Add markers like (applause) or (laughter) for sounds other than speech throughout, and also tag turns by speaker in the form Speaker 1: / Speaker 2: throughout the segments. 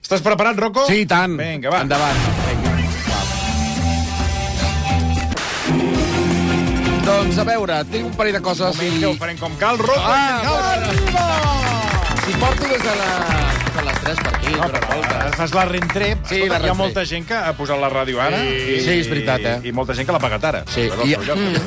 Speaker 1: Estàs preparat, Rocco?
Speaker 2: Sí, i tant.
Speaker 1: Vinga, va.
Speaker 2: Endavant. Doncs a veure, tinc un parell de coses.
Speaker 1: Vinga, ho farem com cal. Rocco,
Speaker 2: Ah,
Speaker 1: ah, cal.
Speaker 2: Si porto des de, la... de les 3 per aquí,
Speaker 1: No,
Speaker 2: no, eh,
Speaker 1: però
Speaker 2: volta.
Speaker 1: ara fas la rentré.
Speaker 2: Sí,
Speaker 1: Escolta,
Speaker 2: la
Speaker 1: Hi ha
Speaker 2: rentré.
Speaker 1: molta gent que ha posat la ràdio ara.
Speaker 2: Sí. Sí, és veritat, eh?
Speaker 1: I molta gent que l'ha pagat ara.
Speaker 2: Sí,
Speaker 1: Però
Speaker 2: i-
Speaker 1: al seu lloc.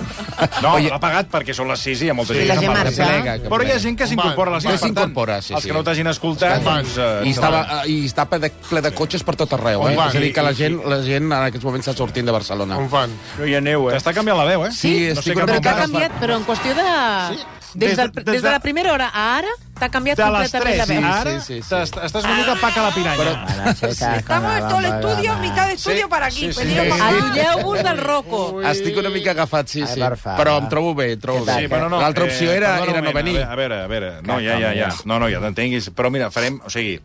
Speaker 2: (laughs)
Speaker 1: No,
Speaker 2: Oye-
Speaker 1: l'ha pagat perquè són les 6 i hi ha molta
Speaker 3: Sí,
Speaker 1: gent
Speaker 3: la
Speaker 1: que
Speaker 3: gent
Speaker 1: paga.
Speaker 3: marxa. Que
Speaker 2: plega, que
Speaker 1: Però hi ha
Speaker 2: plega.
Speaker 1: gent que s'incorpora a les
Speaker 2: Home,
Speaker 1: 6. Per tant,
Speaker 2: s'incorpora, sí,
Speaker 1: Els
Speaker 2: sí.
Speaker 1: que no t'hagin escoltat,
Speaker 3: Escolta,
Speaker 1: doncs... eh,
Speaker 2: I, estava,
Speaker 1: endavant.
Speaker 2: I està ple de, ple de cotxes per tot arreu,
Speaker 3: On
Speaker 2: eh?
Speaker 3: van?
Speaker 2: És a dir, que la gent, la gent en aquests moments està sortint de Barcelona.
Speaker 3: On van?
Speaker 1: No hi ha neu, eh? T'està canviant la veu, eh?
Speaker 2: Sí,
Speaker 1: no sé
Speaker 2: estic
Speaker 1: cap
Speaker 2: una
Speaker 4: Però
Speaker 1: on
Speaker 4: t'ha
Speaker 2: mica-
Speaker 1: vas.
Speaker 4: canviat, però en qüestió de...
Speaker 1: Des
Speaker 4: Des,
Speaker 1: de-
Speaker 4: del,
Speaker 1: des
Speaker 4: des
Speaker 1: de-
Speaker 4: de la primera hora a ara, t'ha canviat
Speaker 1: De les
Speaker 4: completament
Speaker 1: 3,
Speaker 4: la veu.
Speaker 1: ara,
Speaker 2: Sí, sí, sí.
Speaker 1: t'est- estàs una mica paca a la piranya.
Speaker 5: Estamos en todo el estudio, mitad de estudio para aquí.
Speaker 1: sí, sí.
Speaker 5: venido para acá.
Speaker 4: Allunyeu-vos del roco.
Speaker 2: Estic una mica agafat, sí, sí.
Speaker 6: Ai, per favor.
Speaker 2: Però em trobo bé, em trobo bé.
Speaker 1: Sí, però no,
Speaker 2: L'altra opció
Speaker 1: eh,
Speaker 2: era,
Speaker 1: perdona
Speaker 2: era
Speaker 1: un
Speaker 2: no
Speaker 1: moment,
Speaker 2: venir.
Speaker 1: A veure, a veure, a veure. no, ja, ja, ja. No, no, ja t'entenguis. Però mira, farem... O sigui...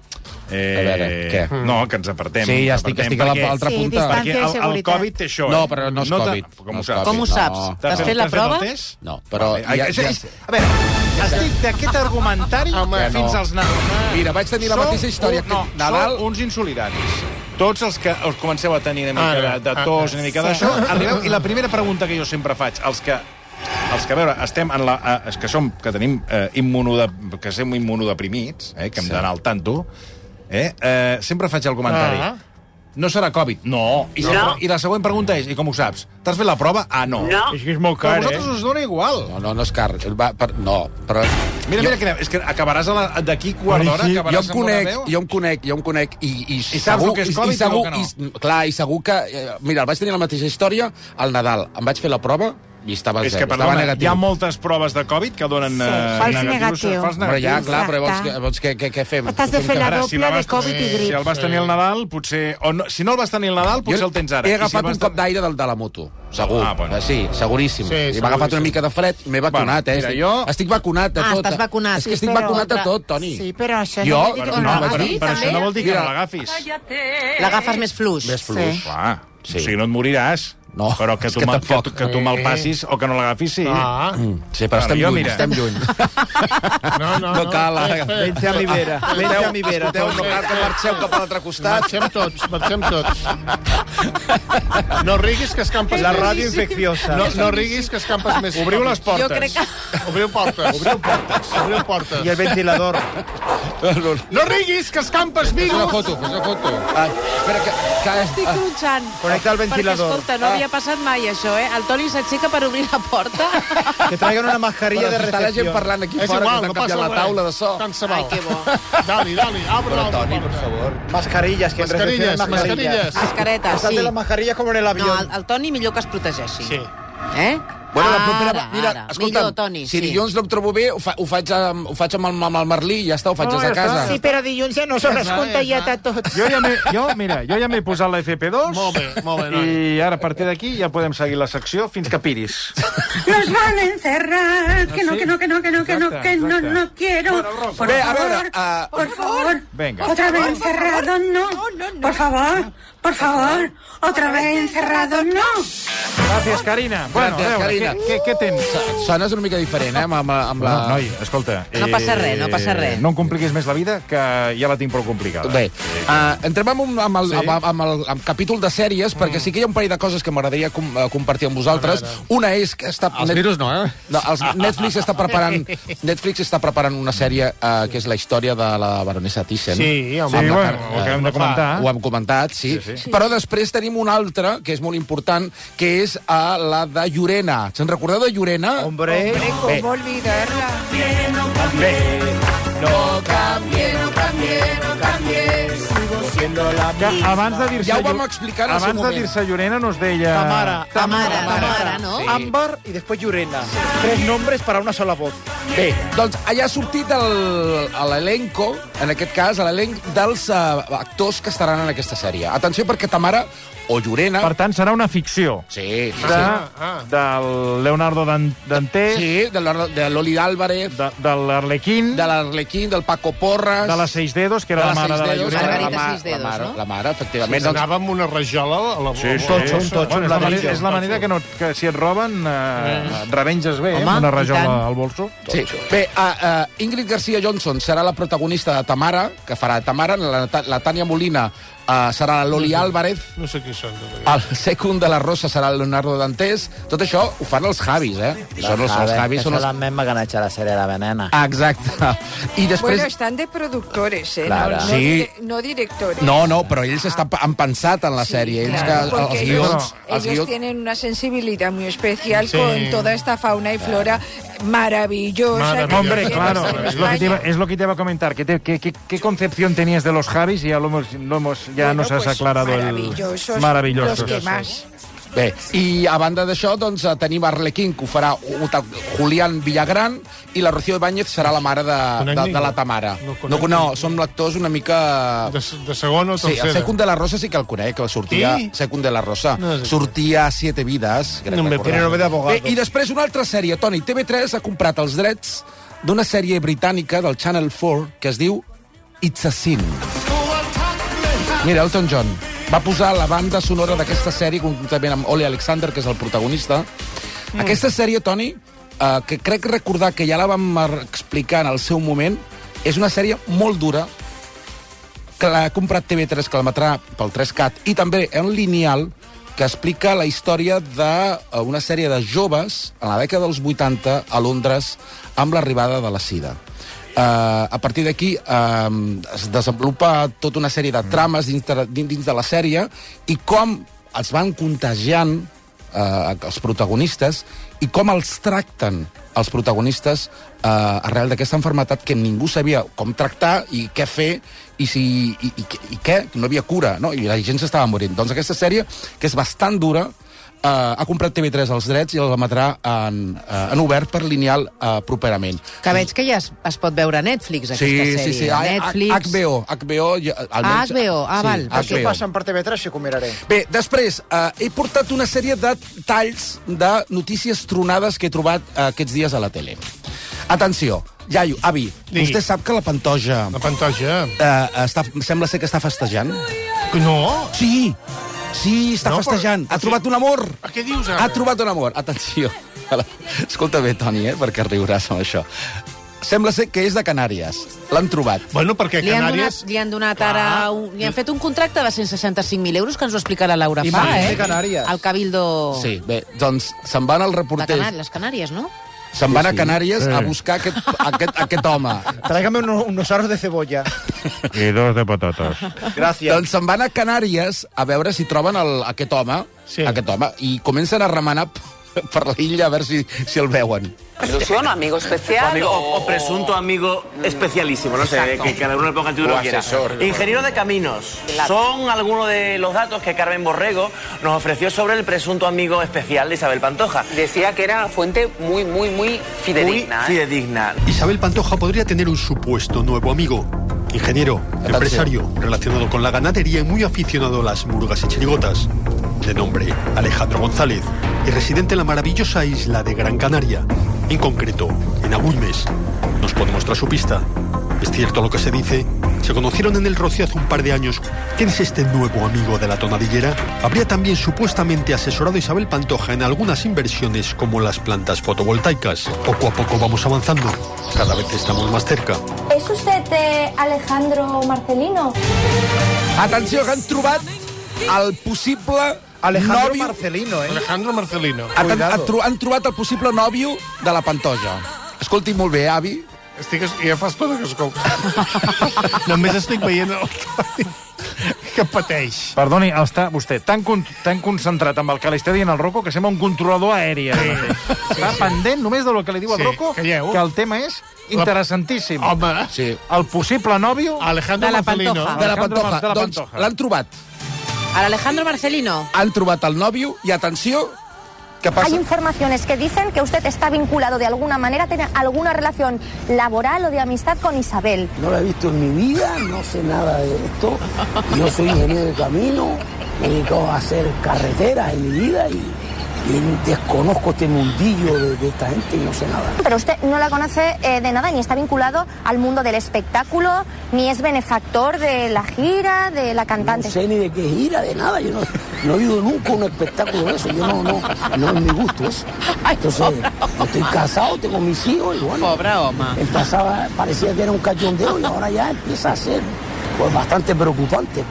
Speaker 1: Eh,
Speaker 2: A veure, què?
Speaker 1: No, que ens apartem.
Speaker 2: Sí, ja estic,
Speaker 1: apartem
Speaker 2: estic a la-
Speaker 1: perquè-
Speaker 2: a l'altra
Speaker 3: Sí,
Speaker 2: punta.
Speaker 3: distància.
Speaker 1: Perquè el, el
Speaker 3: Seguretat.
Speaker 1: Covid té això, eh?
Speaker 2: No, però no és
Speaker 1: te-
Speaker 2: Covid.
Speaker 1: Com
Speaker 2: No
Speaker 1: ho
Speaker 2: és
Speaker 1: saps?
Speaker 2: Covid.
Speaker 4: Com ho
Speaker 2: No.
Speaker 4: saps? T'has fet la
Speaker 1: t'has
Speaker 4: prova?
Speaker 1: el test?
Speaker 2: No, però
Speaker 1: Vale.
Speaker 2: ja-
Speaker 1: Ai, és-
Speaker 2: ja-
Speaker 1: és- A veure, estic d'aquest argumentari
Speaker 3: Home,
Speaker 1: fins
Speaker 2: no.
Speaker 1: als nanos.
Speaker 2: Mira, vaig tenir la
Speaker 1: Sou
Speaker 2: mateixa història
Speaker 1: un-
Speaker 2: que
Speaker 1: no,
Speaker 2: Nadal.
Speaker 1: Sou uns insolidaris. Tots els que us comenceu a tenir una mica
Speaker 3: Ara,
Speaker 1: de, de tos, una mica d'això, arribeu, i la primera pregunta que jo sempre faig, els que els que, a veure, estem en la... eh, Els que som, que tenim eh, immunoda, que som immunodeprimits, eh, que hem d'anar al tanto, eh, eh, sempre faig el comentari.
Speaker 3: Ah.
Speaker 1: No serà Covid? No. I, sempre, I la següent pregunta és, i com ho saps? T'has fet la prova? Ah, no. No.
Speaker 3: És que és molt
Speaker 1: Però a vosaltres us dona igual.
Speaker 2: No, no, no és car. Va, per, no, però...
Speaker 1: Mira, mira, que, és que acabaràs a la- d'aquí quart d'hora...
Speaker 3: sí,
Speaker 2: Jo em
Speaker 1: acabaràs amb una
Speaker 2: conec,
Speaker 1: veu.
Speaker 2: jo em conec, jo em conec, i, i, I
Speaker 1: saps el que és Covid i
Speaker 2: i, segur,
Speaker 1: el que
Speaker 2: i,
Speaker 1: no.
Speaker 2: clar, i segur que... Eh, mira, vaig tenir la mateixa història al Nadal. Em vaig fer la prova i estava
Speaker 1: És
Speaker 2: zero,
Speaker 1: que,
Speaker 2: estava
Speaker 1: perdona,
Speaker 2: negatiu.
Speaker 1: hi ha moltes proves de Covid que donen sí,
Speaker 5: fals
Speaker 1: negatius.
Speaker 5: negatiu.
Speaker 1: Fals
Speaker 2: Però ja,
Speaker 1: negatius.
Speaker 2: clar, però llavors,
Speaker 5: Exacte.
Speaker 2: que- llavors què, què, què fem?
Speaker 5: T'has de
Speaker 2: Què fem
Speaker 5: fer la
Speaker 2: que-
Speaker 1: Ara, si la
Speaker 5: doble de
Speaker 1: vas-
Speaker 5: Covid i
Speaker 1: Si
Speaker 5: grip.
Speaker 1: el vas tenir al Nadal, potser... O no, si no el vas tenir al Nadal, potser
Speaker 2: Jo
Speaker 1: el tens ara.
Speaker 2: He
Speaker 1: I si
Speaker 2: agafat
Speaker 1: el vas
Speaker 2: un cop
Speaker 1: tenir-
Speaker 2: d'aire del de la moto, segur.
Speaker 1: Ah,
Speaker 2: Ah,
Speaker 1: bueno.
Speaker 2: bueno. Sí, seguríssim.
Speaker 3: Sí,
Speaker 2: Sí, I
Speaker 3: seguríssim.
Speaker 2: m'ha agafat una mica de fred, m'he vacunat, eh?
Speaker 1: mira,
Speaker 2: estic,
Speaker 1: jo-
Speaker 2: estic vacunat de
Speaker 4: Ah,
Speaker 2: tot. eh.
Speaker 4: estàs vacunat.
Speaker 2: És que
Speaker 4: Sí,
Speaker 2: estic
Speaker 4: però-
Speaker 2: vacunat de tot, Toni.
Speaker 5: Sí, però això
Speaker 2: Jo?
Speaker 5: no vol dir
Speaker 1: Però, no,
Speaker 5: que no,
Speaker 1: però,
Speaker 5: l'agafis.
Speaker 1: però això no vol dir que
Speaker 2: Mira.
Speaker 1: no l'agafis.
Speaker 2: eh.
Speaker 4: L'agafes més fluix.
Speaker 2: Més fluix. Sí.
Speaker 1: Clar,
Speaker 2: Sí.
Speaker 1: o sigui, no et moriràs.
Speaker 2: No,
Speaker 1: però que
Speaker 2: és
Speaker 1: tu,
Speaker 2: que
Speaker 1: que, que,
Speaker 2: tampoc.
Speaker 1: tu, que tu me'l passis o que no l'agafis, sí.
Speaker 3: Ah,
Speaker 2: Mm. Sí, però
Speaker 1: Bueno,
Speaker 2: estem
Speaker 1: jo,
Speaker 2: lluny,
Speaker 1: mira.
Speaker 2: estem lluny.
Speaker 3: no, no.
Speaker 2: No cal, eh. ara.
Speaker 3: Vente
Speaker 7: a mi vera, vente a mi vera,
Speaker 2: Escolteu, no cal que marxeu cap a l'altre costat.
Speaker 3: Marxem tots, marxem
Speaker 5: (laughs)
Speaker 3: tots. No riguis que escampes
Speaker 7: La
Speaker 3: més.
Speaker 7: ràdio infecciosa.
Speaker 3: No, no riguis que escampes més.
Speaker 1: Obriu les portes.
Speaker 4: Jo crec que...
Speaker 3: Obriu portes. Obriu portes. Obriu portes.
Speaker 7: I el ventilador.
Speaker 3: No riguis que escampes
Speaker 2: Fes
Speaker 3: virus.
Speaker 2: una foto, fes una foto. Ah, espera, que... que
Speaker 4: Estic cruixant.
Speaker 7: Connecta el ventilador.
Speaker 4: Perquè, escolta, no havia passat mai això, eh? El Toni s'aixeca per obrir la porta.
Speaker 7: Que traigan una mascarilla
Speaker 2: Però
Speaker 7: de
Speaker 2: si està la gent
Speaker 7: recepció.
Speaker 2: parlant aquí
Speaker 3: És
Speaker 2: fora,
Speaker 3: igual,
Speaker 2: que
Speaker 3: no
Speaker 2: estan
Speaker 3: passa
Speaker 2: canviant la
Speaker 3: res.
Speaker 2: taula de so.
Speaker 3: Tant se
Speaker 4: Ai,
Speaker 3: val.
Speaker 4: que bo.
Speaker 3: (laughs) Dali, dali, abre
Speaker 2: Però,
Speaker 3: la
Speaker 2: Toni,
Speaker 3: porta.
Speaker 2: per favor.
Speaker 7: Mascarillas, que en recepción hay
Speaker 3: Mascarillas, mascarillas.
Speaker 4: Mascareta,
Speaker 7: Estás
Speaker 4: sí.
Speaker 7: de las mascarillas como en el
Speaker 4: No, el,
Speaker 7: avión.
Speaker 4: el Toni millor que es protegeixi.
Speaker 3: Sí.
Speaker 4: Eh?
Speaker 2: Bueno, la propera...
Speaker 4: Ara,
Speaker 2: mira,
Speaker 4: ara.
Speaker 2: escolta'm,
Speaker 4: millor, Toni,
Speaker 2: si
Speaker 4: sí.
Speaker 2: dilluns no em trobo bé, ho, fa, ho, faig, amb, ho faig amb el, amb el Merlí i ja està, ho faig des de casa.
Speaker 5: Sí, però dilluns ja no s'ha descontagiat a tots.
Speaker 1: Jo ja m'he... Jo, mira, jo ja m'he posat la FP2.
Speaker 3: Molt bé, molt bé, noi.
Speaker 1: I ara, a partir d'aquí, ja podem seguir la secció fins que piris.
Speaker 5: Nos van a encerrar, que no,
Speaker 1: ¿Ah, Sí.
Speaker 5: que no, que no, que no, que no,
Speaker 1: Exacte,
Speaker 5: que no,
Speaker 1: exacte.
Speaker 5: no quiero.
Speaker 1: Bueno, Rocco.
Speaker 5: Por
Speaker 2: Ve, a ver,
Speaker 5: favor,
Speaker 2: ah,
Speaker 5: por favor.
Speaker 1: Venga.
Speaker 5: Otra vez encerrado, no. Por favor, por favor. Otra vez encerrado, no.
Speaker 1: Gràcies, Carina. Bueno,
Speaker 2: Gràcies,
Speaker 1: a veure,
Speaker 2: Carina.
Speaker 1: Què, què, què tens?
Speaker 2: Sones una mica diferent, eh, amb, amb, amb la...
Speaker 1: No, noi, escolta... eh,
Speaker 4: No passa res, no passa res.
Speaker 1: No em compliquis més la vida, que ja la tinc prou complicada.
Speaker 2: Bé, uh, entrem amb, un, amb, el, sí. amb, amb, el, amb capítol de sèries, mm. perquè sí que hi ha un parell de coses que m'agradaria com, eh, compartir amb vosaltres. Una és que està...
Speaker 3: Els virus no, eh?
Speaker 2: No, els Netflix està preparant Netflix està preparant una sèrie eh, que és la història de la baronessa Thyssen.
Speaker 3: Sí, home.
Speaker 1: Sí,
Speaker 2: Amb la
Speaker 1: bueno,
Speaker 2: car-
Speaker 1: ho acabem de comentar.
Speaker 2: eh, Ho hem comentat, sí.
Speaker 1: Sí,
Speaker 2: Sí,
Speaker 1: sí.
Speaker 2: sí. Però després tenim una altra, que és molt important, que és a la de Llorena. Se'n recordeu de Llorena?
Speaker 7: Hombre,
Speaker 5: ¿Cómo olvidarla?
Speaker 1: Que abans de dir-se...
Speaker 2: Ja ho vam
Speaker 1: Llo-
Speaker 2: explicar en el seu
Speaker 1: Abans de
Speaker 2: moment.
Speaker 1: dir-se Llorena no es deia...
Speaker 7: Tamara.
Speaker 4: Tamara, Tamara, no?
Speaker 2: Sí.
Speaker 7: Ámbar y después Yurena. Tres nombres para una sola voz.
Speaker 2: Bé, doncs allà ha sortit el- a l'elenco, en aquest cas, a l'elenc dels eh, actors que estaran en aquesta sèrie. Atenció, perquè Tamara o Llorena...
Speaker 1: Per tant, serà una ficció.
Speaker 2: Sí, sí,
Speaker 1: De,
Speaker 2: sí.
Speaker 3: ah.
Speaker 1: Del Leonardo Dan- Dantés, sí.
Speaker 2: Sí, de l'Or- de l'Oli d'Àlvarez,
Speaker 1: de, de l'Arlequín,
Speaker 2: de l'Arlequín, del Paco Porras...
Speaker 1: de la Seis Dedos, que era la,
Speaker 2: de la
Speaker 1: mare de la
Speaker 2: Seis Dedos, Ah,
Speaker 1: Llorena.
Speaker 2: la,
Speaker 4: Margarita
Speaker 2: ma-
Speaker 4: Seis Dedos,
Speaker 2: la mare,
Speaker 4: no?
Speaker 2: la mare, efectivament.
Speaker 3: Més
Speaker 2: doncs,
Speaker 3: anava amb una rajola a la...
Speaker 1: Sí, sí.
Speaker 7: totxo, un totxo,
Speaker 1: Bueno,
Speaker 7: un
Speaker 1: és, la manera,
Speaker 7: ladrillo.
Speaker 1: és la manera que, no, que si et roben eh, revenges bé, eh,
Speaker 4: Home,
Speaker 1: amb una
Speaker 4: i tant.
Speaker 1: rajola al bolso.
Speaker 2: sí, Sí. Bé, uh, uh, Ingrid Garcia Johnson serà la protagonista de Tamara, que farà Tamara, la, Nat- la Tània Molina uh, serà la Loli Álvarez,
Speaker 3: No sé qui són. tot això.
Speaker 2: el secund de la Rosa serà el Leonardo Dantes. Tot això ho fan els Javis, eh? Són els, els Javis són
Speaker 1: són
Speaker 2: els...
Speaker 1: les més maganatge a la sèrie de Venena.
Speaker 2: Ah, Exacte. I
Speaker 8: Bueno,
Speaker 2: després...
Speaker 8: están de productores, ¿eh?
Speaker 1: Claro.
Speaker 8: No, no,
Speaker 2: Sí.
Speaker 8: dire- no directores.
Speaker 2: No, no, però ells estan, han pensat en la
Speaker 8: Sí,
Speaker 2: sèrie. Ells que,
Speaker 8: claro, porque
Speaker 2: els
Speaker 8: ellos,
Speaker 2: guions...
Speaker 8: ellos
Speaker 2: Els guions...
Speaker 8: tienen una sensibilidad muy especial
Speaker 3: Sí.
Speaker 8: con toda esta fauna y flora maravillosa. que
Speaker 3: Maravillosa.
Speaker 8: tiene
Speaker 3: Yo
Speaker 1: Hombre,
Speaker 3: quiero
Speaker 1: claro,
Speaker 3: estar en
Speaker 1: es lo, que te iba,
Speaker 8: España.
Speaker 1: es lo que te iba a comentar. ¿Qué, te- qué, qué, qué concepción tenías de los Javis? Y Ya, lo hemos, lo hemos, ya
Speaker 8: Bueno,
Speaker 1: nos has
Speaker 8: pues,
Speaker 1: aclarado
Speaker 8: maravillosos,
Speaker 1: el... Maravilloso.
Speaker 8: Los que más.
Speaker 2: Bé, i a banda d'això, doncs, eh, tenim Arlequín, que ho farà un tal Julián Villagran, i la Rocío Ibáñez serà la mare de, de,
Speaker 3: Conec
Speaker 2: de la
Speaker 3: ningú.
Speaker 2: Tamara.
Speaker 3: No
Speaker 2: No,
Speaker 3: conec
Speaker 2: no, som lectors una mica...
Speaker 3: De, de segon o
Speaker 2: Sí,
Speaker 3: tercera.
Speaker 2: el Secund de la Rosa sí que el conec, que sortia...
Speaker 3: Sí?
Speaker 2: Sí? Secund de la Rosa.
Speaker 3: No sé.
Speaker 2: sortia a Siete Vides. crec
Speaker 3: No me-
Speaker 2: recordar.
Speaker 3: Penélope de Abogado.
Speaker 2: Bé, I després una altra sèrie, Toni. TV3 ha comprat els drets d'una sèrie britànica del Channel 4 que es diu It's a Sin. Mira, Elton John va posar la banda sonora d'aquesta sèrie conjuntament amb Ole Alexander, que és el protagonista. Mm. Aquesta sèrie, Toni, eh, que crec recordar que ja la vam explicar en el seu moment, és una sèrie molt dura, que l'ha comprat TV3, que l'emetrà pel 3CAT, i també un lineal que explica la història d'una sèrie de joves en la dècada dels 80 a Londres amb l'arribada de la sida. Uh, a partir d'aquí uh, es desenvolupa tota una sèrie de trames dins de, dins dins de la sèrie i com es van contagiant uh, els protagonistes i com els tracten els protagonistes eh, arrel d'aquesta enfermetat que ningú sabia com tractar i què fer i, si, i, i, i què, no hi havia cura, no? i la gent s'estava morint. Doncs aquesta sèrie, que és bastant dura, eh, ha comprat TV3 els drets i els emetrà en, eh, en obert per lineal eh, properament.
Speaker 4: Que veig que ja es, es pot veure a Netflix, aquesta sèrie.
Speaker 2: sí, sí,
Speaker 4: A
Speaker 2: a- a-
Speaker 4: Netflix.
Speaker 2: HBO, HBO... ja, almenys-
Speaker 4: HBO, ah, val.
Speaker 1: Això
Speaker 2: HBO.
Speaker 1: passen per TV3, això que ho miraré.
Speaker 2: Bé, després, eh, he portat una sèrie de talls de notícies tronades que he trobat eh, aquests dies a la tele. Atenció, iaio, avi,
Speaker 3: Digui.
Speaker 2: vostè sap que la Pantoja
Speaker 3: La pantoja.
Speaker 2: eh, està, sembla ser que està festejant?
Speaker 3: No,
Speaker 2: Sí, sí, està
Speaker 3: No,
Speaker 2: no,
Speaker 3: però-
Speaker 2: festejant.
Speaker 3: però
Speaker 2: Ha
Speaker 3: sí.
Speaker 2: trobat un amor.
Speaker 3: A què dius ara?
Speaker 2: Ha trobat un amor. Atenció. Escolta bé, Toni, eh, perquè riuràs amb això. Sembla ser que és de Canàries. L'han trobat.
Speaker 3: Bueno, perquè
Speaker 4: Li han,
Speaker 3: Canàries...
Speaker 4: donat, li han donat ara... Un, li han fet un contracte de 165.000 euros, que ens ho explicarà Laura
Speaker 1: I
Speaker 4: Fa,
Speaker 1: Marín
Speaker 4: eh?
Speaker 1: de Canàries.
Speaker 4: El Cabildo...
Speaker 2: Sí, bé, doncs se'n van al
Speaker 4: Oh. De
Speaker 2: reporter.
Speaker 4: Canàries, les Canàries, no?
Speaker 2: Se'n van a Canàries a buscar aquest, aquest, aquest home.
Speaker 1: Tráigame unos, unos aros de cebolla.
Speaker 9: Y dos de patatas.
Speaker 1: Gracias.
Speaker 2: Doncs se'n van a Canàries a veure si troben el, aquest home,
Speaker 3: Sí.
Speaker 2: sí. aquest home, i comencen a remenar (laughs) p- per l'illa a veure si, si el veuen.
Speaker 10: Ilusión, amigo especial.
Speaker 11: Amigo, o, o presunto amigo especialísimo, no sé,
Speaker 10: Mm. Exacto.
Speaker 11: que cada uno le ponga el título
Speaker 2: O
Speaker 11: que quiera.
Speaker 2: asesor.
Speaker 11: Ingeniero de caminos. Son algunos de los datos que Carmen Borrego nos ofreció sobre el presunto amigo especial de Isabel Pantoja.
Speaker 10: Decía que era fuente muy, muy, muy fidedigna.
Speaker 11: Muy
Speaker 10: ¿eh?
Speaker 11: fidedigna.
Speaker 12: Isabel Pantoja podría tener un supuesto nuevo amigo. Ingeniero, empresario, relacionado con la ganadería y muy aficionado a las murgas y chirigotas. De nombre Alejandro González. Y residente en la maravillosa isla de Gran Canaria. En concreto, en Agulmes. Nos puede mostrar su pista. Es cierto lo que se dice. Se conocieron en el Rocío hace un par de años. ¿Quién es este nuevo amigo de la tonadillera? Habría también supuestamente asesorado a Isabel Pantoja en algunas inversiones como las plantas fotovoltaicas. Poco a poco vamos avanzando. Cada vez estamos más cerca.
Speaker 13: ¿Es usted eh, Alejandro Marcelino?
Speaker 2: Atenció, que han trobat el possible
Speaker 1: Alejandro
Speaker 2: nòvio...
Speaker 1: Marcelino, eh?
Speaker 3: Alejandro Marcelino.
Speaker 2: Aten-
Speaker 1: Cuidado.
Speaker 2: han, tro- han trobat el possible nòvio de la Pantoja. Escolti molt bé, avi.
Speaker 3: Estic, ja fa estona que escolto. (laughs) Només estic veient el Toni (laughs) que pateix.
Speaker 1: Perdoni, està
Speaker 7: Vostè, tan, con tan concentrat amb el que li està dient el Rocco que sembla un controlador aeri. Sí. Sí, Està pendent només del que li diu el
Speaker 3: Sí,
Speaker 7: Rocco,
Speaker 3: calleu.
Speaker 7: que el tema és interessantíssim.
Speaker 3: Home,
Speaker 2: Sí.
Speaker 7: El possible nòvio...
Speaker 3: Alejandro
Speaker 4: De la
Speaker 3: Marcelino.
Speaker 4: Pantoja.
Speaker 2: De la
Speaker 7: Alejandro
Speaker 2: Pantoja.
Speaker 7: Mar- de la
Speaker 2: doncs
Speaker 7: Pantoja.
Speaker 2: l'han trobat.
Speaker 4: A l'Alejandro Marcelino.
Speaker 2: Han trobat el nòvio i, atenció, que
Speaker 13: Hay
Speaker 2: passa...
Speaker 13: informaciones que dicen que usted está vinculado de alguna manera, tiene alguna relación laboral o de amistad con Isabel.
Speaker 11: No la he visto en mi vida, no sé nada de esto. Yo soy ingeniero de camino, me he dedicado a hacer carreteras en mi vida y,
Speaker 14: desconozco este mundillo de, de esta gente y no sé nada.
Speaker 13: Pero usted no la conoce eh, de nada, ni está vinculado al mundo del espectáculo, ni es benefactor de la gira, de la cantante.
Speaker 14: No sé ni de qué gira, de nada. Yo no, no he ido nunca a un espectáculo de eso. Yo no, no, no es mi gusto eso. Entonces, estoy casado, tengo mis hijos y bueno.
Speaker 4: Pobre home.
Speaker 14: Empezaba, parecía que era un cachondeo y ahora ya empieza a ser pues, bastante preocupante.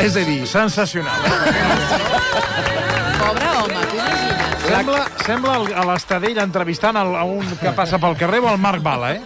Speaker 3: És a dir... Sensacional.
Speaker 4: Pobre home, tu imagines?
Speaker 1: Sembla, sembla el- a l'Estadell entrevistant el, a un que passa pel carrer o el Marc Bala, eh?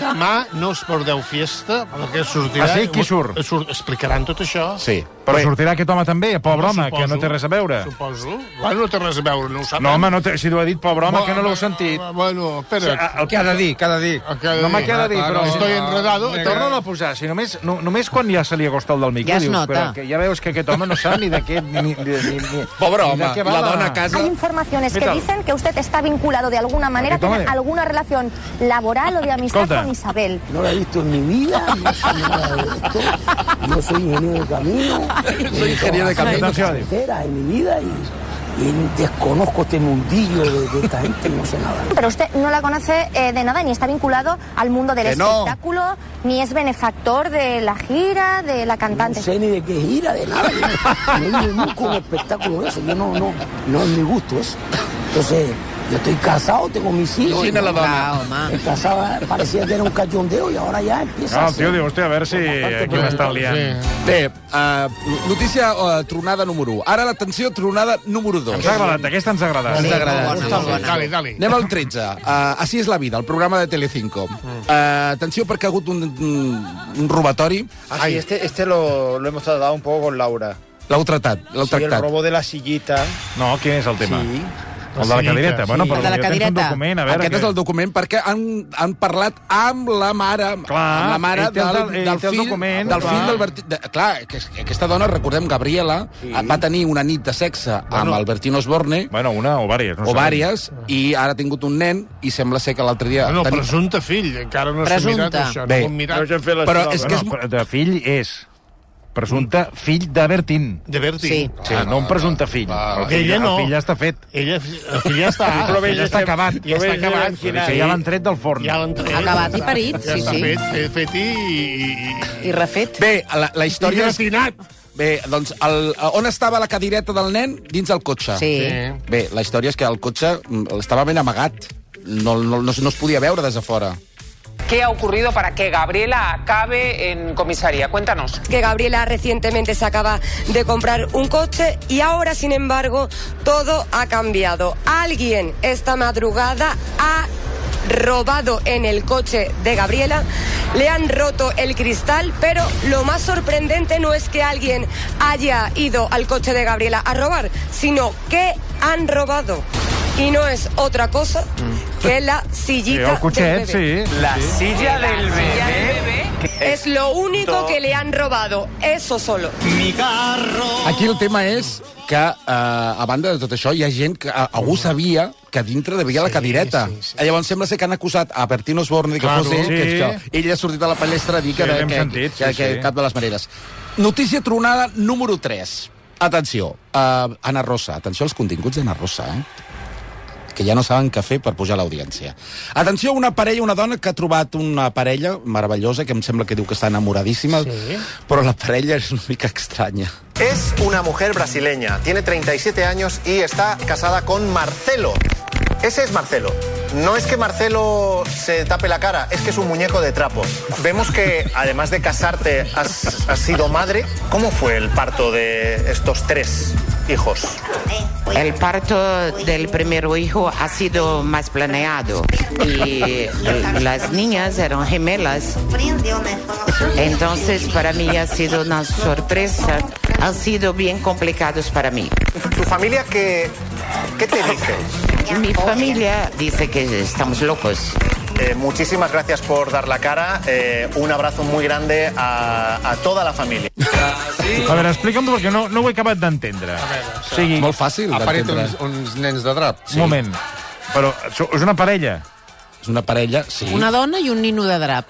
Speaker 3: Demà no us perdeu fiesta, perquè sortirà...
Speaker 1: Ah, sí? Qui surt?
Speaker 3: surt? Explicaran tot això.
Speaker 7: Sí.
Speaker 1: Però sortirà aquest home també, pobre home, que
Speaker 3: Suposo.
Speaker 1: no té res a veure.
Speaker 3: Suposo. Bueno, no té res a veure, no ho sabem.
Speaker 1: No, home, no té, si t'ho ha dit, pobre home, que no l'heu sentit.
Speaker 3: Bueno, espera.
Speaker 1: El que ha de dir, que ha de dir. No m'ha queda dir, però...
Speaker 3: Estoy enredado.
Speaker 1: Torna'l a posar, si només, no, només quan ja se li acosta el del micro.
Speaker 15: Ja es
Speaker 1: dius,
Speaker 15: nota.
Speaker 1: Però, que ja veus que aquest home no sap ni de què... Ni, ni, ni, ni,
Speaker 15: Pobre
Speaker 1: ni de
Speaker 15: home,
Speaker 1: què va
Speaker 15: la dona a casa.
Speaker 13: Hay informaciones que
Speaker 1: Mira.
Speaker 13: dicen que usted está vinculado de alguna manera,
Speaker 1: Aquí, toma.
Speaker 13: tiene alguna relación laboral o de amistad
Speaker 14: Escolta.
Speaker 13: con Isabel.
Speaker 14: No la he visto en mi vida, no sé nada de esto. Yo soy ingeniero de camino.
Speaker 15: Soy ingeniero de camino.
Speaker 14: Soltera en mi vida y, y desconozco este mundillo de, de esta gente y no sé nada.
Speaker 13: Pero usted no la conoce eh, de nada, ni está vinculado al mundo del
Speaker 14: Que no.
Speaker 13: espectáculo, ni es benefactor de la gira, de la cantante.
Speaker 14: No sé ni de qué gira, de nada. Yo no- no he ido nunca a un espectáculo de eso. Yo no, no, no es mi gusto eso. Entonces, yo estoy casado, tengo mis hijos.
Speaker 15: Imagina
Speaker 14: y
Speaker 15: la dona.
Speaker 14: Claro, ma. Me casaba, parecía que era un cachondeo y ahora ya empieza
Speaker 1: No,
Speaker 14: a
Speaker 1: Ah, el tio
Speaker 14: ser-
Speaker 1: diu, hòstia, a veure si aquí m'estan liant.
Speaker 15: Bé,
Speaker 2: Uh, notícia uh, tronada número 1. Ara, l'atenció, tronada número 2.
Speaker 1: Ens ha agradat, aquesta ens ha agradat.
Speaker 2: Ens ha agradat.
Speaker 15: Molt bona, molt
Speaker 1: ah,
Speaker 15: bona.
Speaker 3: Dale, dale.
Speaker 2: Anem al 13. Uh, Així és la vida, el programa de Telecinco.
Speaker 1: Mm.
Speaker 2: Uh, atenció, perquè ha hagut un, un- un robatori.
Speaker 16: Así, este, este lo, lo hemos tratado un poco con Laura.
Speaker 2: L'heu tratat, l'heu
Speaker 16: Sí, el
Speaker 2: tractat.
Speaker 16: robo de la sillita.
Speaker 1: No, quin és el tema?
Speaker 16: Sí.
Speaker 1: El de la cadireta. Bueno, però potser tens un document, a veure...
Speaker 2: Aquest
Speaker 1: què-
Speaker 2: és el document, perquè han, han parlat amb la mare,
Speaker 1: Clar,
Speaker 2: amb la mare
Speaker 1: ell té el- ell
Speaker 2: del
Speaker 1: té el
Speaker 2: fill,
Speaker 1: document,
Speaker 2: del
Speaker 1: clar.
Speaker 2: fill del Berti, de, clar, que, que aquesta dona, recordem, Gabriela, sí. va tenir una nit de sexe
Speaker 1: Bueno.
Speaker 2: amb Albertino Osborne,
Speaker 1: Bueno, una o vàries. No
Speaker 2: o
Speaker 1: sabem.
Speaker 2: vàries, i ara ha tingut un nen, i sembla ser que l'altre dia...
Speaker 3: Bueno, presumpte fill, encara no s'ha mirat això.
Speaker 2: Bé,
Speaker 3: No s'ha mirat.
Speaker 2: però és que és...
Speaker 1: Bueno, però de fill és presumpte fill de Bertín.
Speaker 3: De Bertín.
Speaker 1: Sí. sí no, un presumpte fill. el,
Speaker 3: clar.
Speaker 1: fill
Speaker 3: Ella no.
Speaker 1: el fill ja està fet.
Speaker 3: Ella, el fill ja està...
Speaker 1: Però bé, ja està acabat.
Speaker 3: Ja està
Speaker 1: Però bé,
Speaker 3: acabat.
Speaker 1: ja l'han- ja l'han tret del forn.
Speaker 3: Ja l'han tret.
Speaker 4: Acabat i parit,
Speaker 3: ja
Speaker 4: sí,
Speaker 3: està
Speaker 4: sí.
Speaker 3: Fet, fet, fet i... i,
Speaker 4: I refet.
Speaker 2: Bé, la, la història...
Speaker 3: I
Speaker 2: és- Bé, doncs, el, on estava la cadireta del nen? Dins el cotxe.
Speaker 4: Sí.
Speaker 2: Bé, la història és que el cotxe mm, estava ben amagat. No, no, no, es- no es podia veure des de fora.
Speaker 10: ¿Qué ha ocurrido para que Gabriela acabe en comisaría? Cuéntanos.
Speaker 17: que Gabriela recientemente se acaba de comprar un coche y ahora, sin embargo, todo ha cambiado. Alguien esta madrugada ha robado en el coche de Gabriela, le han roto el cristal, pero lo más sorprendente no es que alguien haya ido al coche de Gabriela a robar, sino que han robado. Y no es otra cosa
Speaker 14: Mm.
Speaker 17: que la sillita
Speaker 1: Sí, el cotxet,
Speaker 17: del bebé.
Speaker 1: sí. La
Speaker 11: silla del bebé.
Speaker 17: Es lo único que le han robado, eso solo.
Speaker 11: Mi carro.
Speaker 2: Aquí el tema és que, eh, a banda de tot això, hi ha gent que eh, algú sabia que a dintre devia la cadireta. Sí, sí. Llavors sembla ser que han acusat a Bertino Osborne de que
Speaker 1: Claro,
Speaker 2: fos ell,
Speaker 1: sí.
Speaker 2: que, això. ell ha sortit a la palestra a dir que,
Speaker 1: Sí,
Speaker 2: que,
Speaker 1: l'hem
Speaker 2: que,
Speaker 1: sentit, sí,
Speaker 2: que, que
Speaker 1: sí.
Speaker 2: cap de les maneres. Notícia tronada número 3. Atenció, uh, Ana Rosa. Atenció als continguts d'Anna Rosa, eh? que ja no saben què fer per pujar l'audiència. Atenció, una parella, una dona que ha trobat una parella meravellosa, que em sembla que diu que està enamoradíssima, sí. però la parella és una mica estranya.
Speaker 16: Es una mujer brasileña, tiene 37 años y está casada con Marcelo. Ese es Marcelo. No es que Marcelo se tape la cara, es que es un muñeco de trapo. Vemos que, además de casarte, has, has sido madre. ¿Cómo fue el parto de estos tres hijos?
Speaker 18: El parto del primer hijo ha sido más planeado y las niñas eran gemelas. Entonces para mí ha sido una sorpresa. Han sido bien complicados para mí.
Speaker 16: ¿Tu familia qué, qué te dice?
Speaker 18: Mi familia dice que estamos locos.
Speaker 16: Eh, muchísimas gracias por dar la cara. Eh, un abrazo muy grande a, a toda la familia.
Speaker 1: A veure, explica'm perquè no, no ho he acabat d'entendre. O sigui,
Speaker 2: Molt fàcil
Speaker 16: Ha parit
Speaker 2: d'entendre.
Speaker 16: uns-
Speaker 1: nens de drap. Sí. Un moment. Però so- és una parella.
Speaker 2: És una parella, sí.
Speaker 4: Una dona i un nino de drap.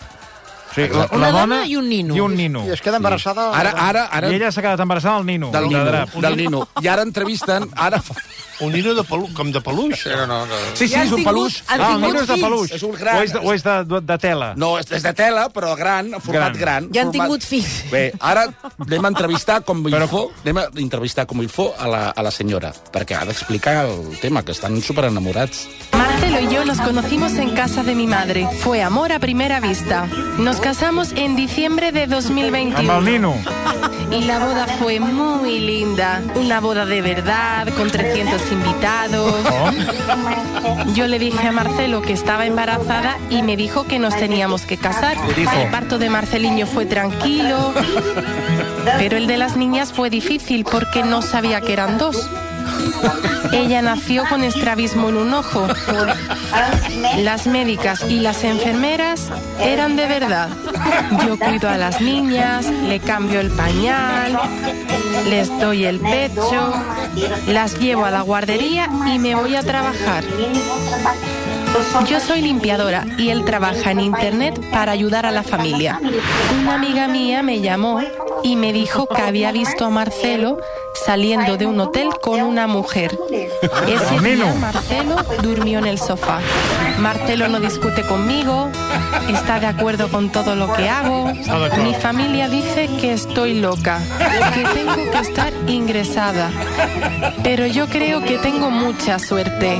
Speaker 1: Sí, la,
Speaker 4: Una dona
Speaker 1: la dona
Speaker 4: i un nino.
Speaker 1: I un nino.
Speaker 4: I es queda embarassada-
Speaker 2: Ara- ara- ara-
Speaker 1: I ella s'ha quedat embarassada del nino.
Speaker 2: Del
Speaker 1: de
Speaker 2: Nino,
Speaker 1: drap.
Speaker 2: del Nino. I ara entrevisten... Ara... fa-
Speaker 3: Un nino de pelu, com de peluix. No, no, no.
Speaker 2: Sí, sí, I han és un tingut- peluix. han
Speaker 1: Ah, el
Speaker 2: tingut
Speaker 1: nino és de
Speaker 2: fills.
Speaker 1: peluix.
Speaker 2: És un gran.
Speaker 1: O és de, o és de, de, de tela.
Speaker 2: No, és, és de tela, però gran, en format gran. gran
Speaker 4: Ja han
Speaker 2: format...
Speaker 4: tingut fills.
Speaker 2: Bé, ara anem a entrevistar com Però... il faut, anem a entrevistar com il faut a la, a la senyora, perquè ha d'explicar el tema, que estan superenamorats.
Speaker 15: Marcelo y yo nos conocimos en casa de mi madre. Fue amor a primera vista. Nos casamos en diciembre de 2021.
Speaker 1: Amb el nino.
Speaker 15: Y la boda fue muy linda. Una boda de verdad, con 300 invitados. Yo le dije a Marcelo que estaba embarazada y me dijo que nos teníamos que casar.
Speaker 1: Le dijo.
Speaker 15: El parto de Marceliño fue tranquilo, pero el de las niñas fue difícil porque no sabía que eran dos. Ella nació con estrabismo en un ojo. Las médicas y las enfermeras eran de verdad. Yo cuido a las niñas, le cambio el pañal, les doy el pecho, las llevo a la guardería y me voy a trabajar. Yo soy limpiadora y él trabaja en internet para ayudar a la familia. Una amiga mía me llamó y me dijo que había visto a Marcelo saliendo de un hotel con una mujer. Ese día Marcelo durmió en el sofá. Marcelo no discute conmigo, está de acuerdo con todo lo que hago.
Speaker 19: Está de acuerdo.
Speaker 15: Mi familia dice que estoy loca, que tengo que estar ingresada. Pero yo creo que tengo mucha suerte,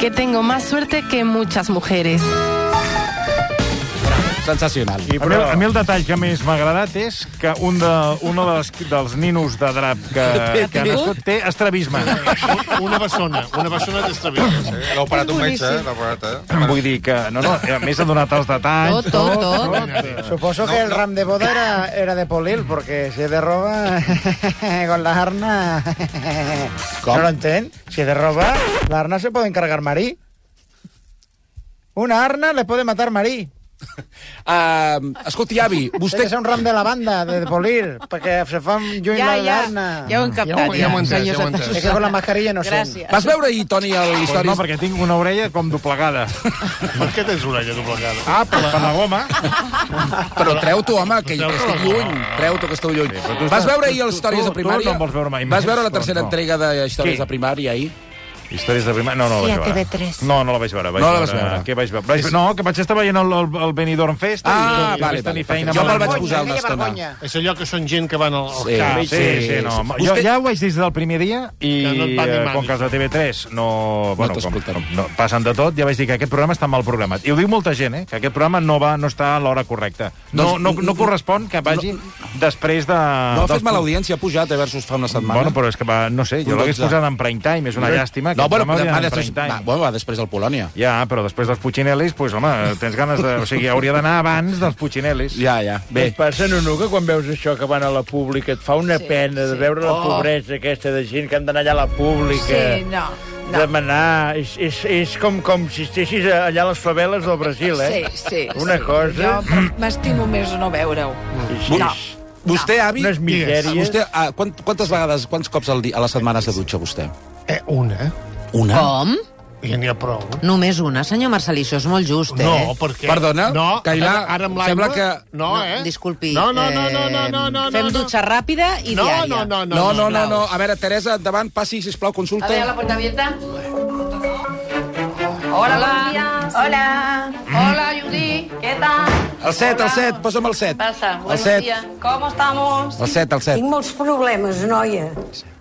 Speaker 15: que tengo más suerte que muchas mujeres.
Speaker 2: Sensacional.
Speaker 1: I, però... a, mi, a mi el detall que més m'ha agradat és que un de, una de les, dels ninos de drap que,
Speaker 3: Té-
Speaker 1: que ha
Speaker 3: té-
Speaker 1: nascut té
Speaker 3: (laughs)
Speaker 1: estrabisme.
Speaker 3: Una bessona, una bessona d'estrabisme. Eh?
Speaker 20: L'ha operat un metge, eh? L'ha operat, eh?
Speaker 1: Vull dir que... No, no, a més ha donat els detalls.
Speaker 20: Tot, tot,
Speaker 21: Suposo que el ram de boda era, era de polil, porque si es de roba, (laughs) con la arna...
Speaker 2: Com?
Speaker 21: No lo entén. Si es de roba, la arna se puede encargar Marí. Una arna le puede matar Marí.
Speaker 2: Uh, escolti, avi,
Speaker 21: Vostè...
Speaker 2: vostè...
Speaker 21: que ser un ram de la banda, de polir, perquè se fa un lluny
Speaker 4: Ja,
Speaker 21: la
Speaker 4: ja.
Speaker 21: l'arna.
Speaker 4: Ja ho hem captat, Ja ho- ja ja, ho he entès, senyor ja ho he entès. Santacruz.
Speaker 21: És que con la mascarilla no
Speaker 4: Gràcies.
Speaker 21: sent.
Speaker 2: Vas veure ahir, Toni, el
Speaker 1: Pues
Speaker 2: històric?
Speaker 1: no, perquè tinc una orella com doblegada.
Speaker 3: Per què tens orella doblegada?
Speaker 1: Ah, per, per la goma.
Speaker 2: Però
Speaker 1: Ah,
Speaker 2: treu-t'ho, home, que estic lluny. Treu-t'ho, que esteu lluny.
Speaker 1: tu
Speaker 2: Vas
Speaker 1: estàs-
Speaker 2: veure ahir
Speaker 1: tu-
Speaker 2: les històries
Speaker 1: tu-
Speaker 2: de primària?
Speaker 1: tu no en vols veure mai
Speaker 2: Vas
Speaker 1: més,
Speaker 2: veure la
Speaker 1: doncs
Speaker 2: tercera
Speaker 1: no.
Speaker 2: entrega de històries
Speaker 1: Qui?
Speaker 2: de primària ahir?
Speaker 1: Històries de primària? No, no
Speaker 2: Sí,
Speaker 1: la
Speaker 2: a
Speaker 1: vaig veure.
Speaker 2: TV3.
Speaker 1: No, no la vaig veure. Vaig
Speaker 2: No la vas veure.
Speaker 1: Què vaig veure? Vaig... No, que vaig estar veient el, el, el Benidorm Fest.
Speaker 2: Ah,
Speaker 1: i,
Speaker 2: vale,
Speaker 1: i vaig tenir
Speaker 2: vale,
Speaker 1: feina
Speaker 2: perfecte. Jo
Speaker 1: amb
Speaker 2: me'l
Speaker 1: el-
Speaker 2: vaig posar una estona.
Speaker 3: És allò que són gent que van al, al
Speaker 1: Sí,
Speaker 3: cap.
Speaker 1: sí, sí, sí, no. Jo
Speaker 3: Vostè-
Speaker 1: ja ho vaig dir des del primer dia i
Speaker 3: Que no et va ni
Speaker 1: eh,
Speaker 3: mani.
Speaker 1: com que els de TV3 no... Bueno, com, com, no, passen de tot, ja vaig dir que aquest programa està mal programat. I ho diu molta gent, eh? Que aquest programa no va no està a l'hora correcta. No,
Speaker 2: Doncs-
Speaker 1: no, no correspon que vagi després de...
Speaker 2: No ha
Speaker 1: dels-
Speaker 2: fet mala audiència, ha pujat, eh, versus fa una setmana.
Speaker 1: Ah, doncs Bueno, però és que va, no sé,
Speaker 2: Un
Speaker 1: jo l'hagués
Speaker 2: 12.
Speaker 1: posat en prime time, és una llàstima.
Speaker 2: No,
Speaker 1: aquest
Speaker 2: bueno,
Speaker 1: programa
Speaker 2: va,
Speaker 1: hauria d'anar en
Speaker 2: després,
Speaker 1: prime
Speaker 2: va,
Speaker 1: time.
Speaker 2: bueno, va després del Polònia.
Speaker 1: Ja, però després dels Puccinellis, pues, home, tens ganes de... O sigui, hauria d'anar abans dels Puccinellis.
Speaker 2: Ja, ja.
Speaker 22: Bé. Et passa, Nunu, que quan veus això que van a la pública et fa una sí, pena de veure la
Speaker 8: Oh.
Speaker 22: pobresa aquesta de gent que han d'anar allà a la pública.
Speaker 8: Sí, no. no.
Speaker 22: Demanar... És, és, és com, com si estessis allà a les faveles del Brasil, eh?
Speaker 8: Sí, sí.
Speaker 22: Una
Speaker 8: sí.
Speaker 22: cosa...
Speaker 8: Jo m'estimo més no veure-ho.
Speaker 22: No.
Speaker 2: No. Vostè, avi...
Speaker 22: Unes misèries.
Speaker 2: Vostè, ah, quant, quantes vegades, quants cops al di, a la setmana se dutxa vostè?
Speaker 3: Eh, una.
Speaker 2: Una?
Speaker 4: Com?
Speaker 3: Ja n'hi ha prou.
Speaker 4: Només una, senyor Marcelí, això és molt just, eh?
Speaker 3: No, perquè...
Speaker 2: Perdona?
Speaker 3: No,
Speaker 2: Cailà,
Speaker 3: ara, ara amb l'aigua...
Speaker 2: sembla que-
Speaker 3: No, eh?
Speaker 4: Disculpi. eh,
Speaker 3: No, no, no, no, no, no, no.
Speaker 4: Fem
Speaker 3: no.
Speaker 4: dutxa ràpida i
Speaker 3: No,
Speaker 4: diària.
Speaker 3: no, no,
Speaker 2: No, no, no, no. A veure, Teresa, endavant, passi, sisplau, consulta.
Speaker 4: puerta abierta.
Speaker 23: Hola. Hola. Hola, Judy. ¿Qué tal?
Speaker 2: El 7, el 7, posa'm el 7.
Speaker 23: Pasa.
Speaker 2: El
Speaker 23: Buenos
Speaker 2: 7,
Speaker 23: días. ¿Cómo estamos?
Speaker 2: el 7, el 7.
Speaker 24: Tinc molts problemes, noia.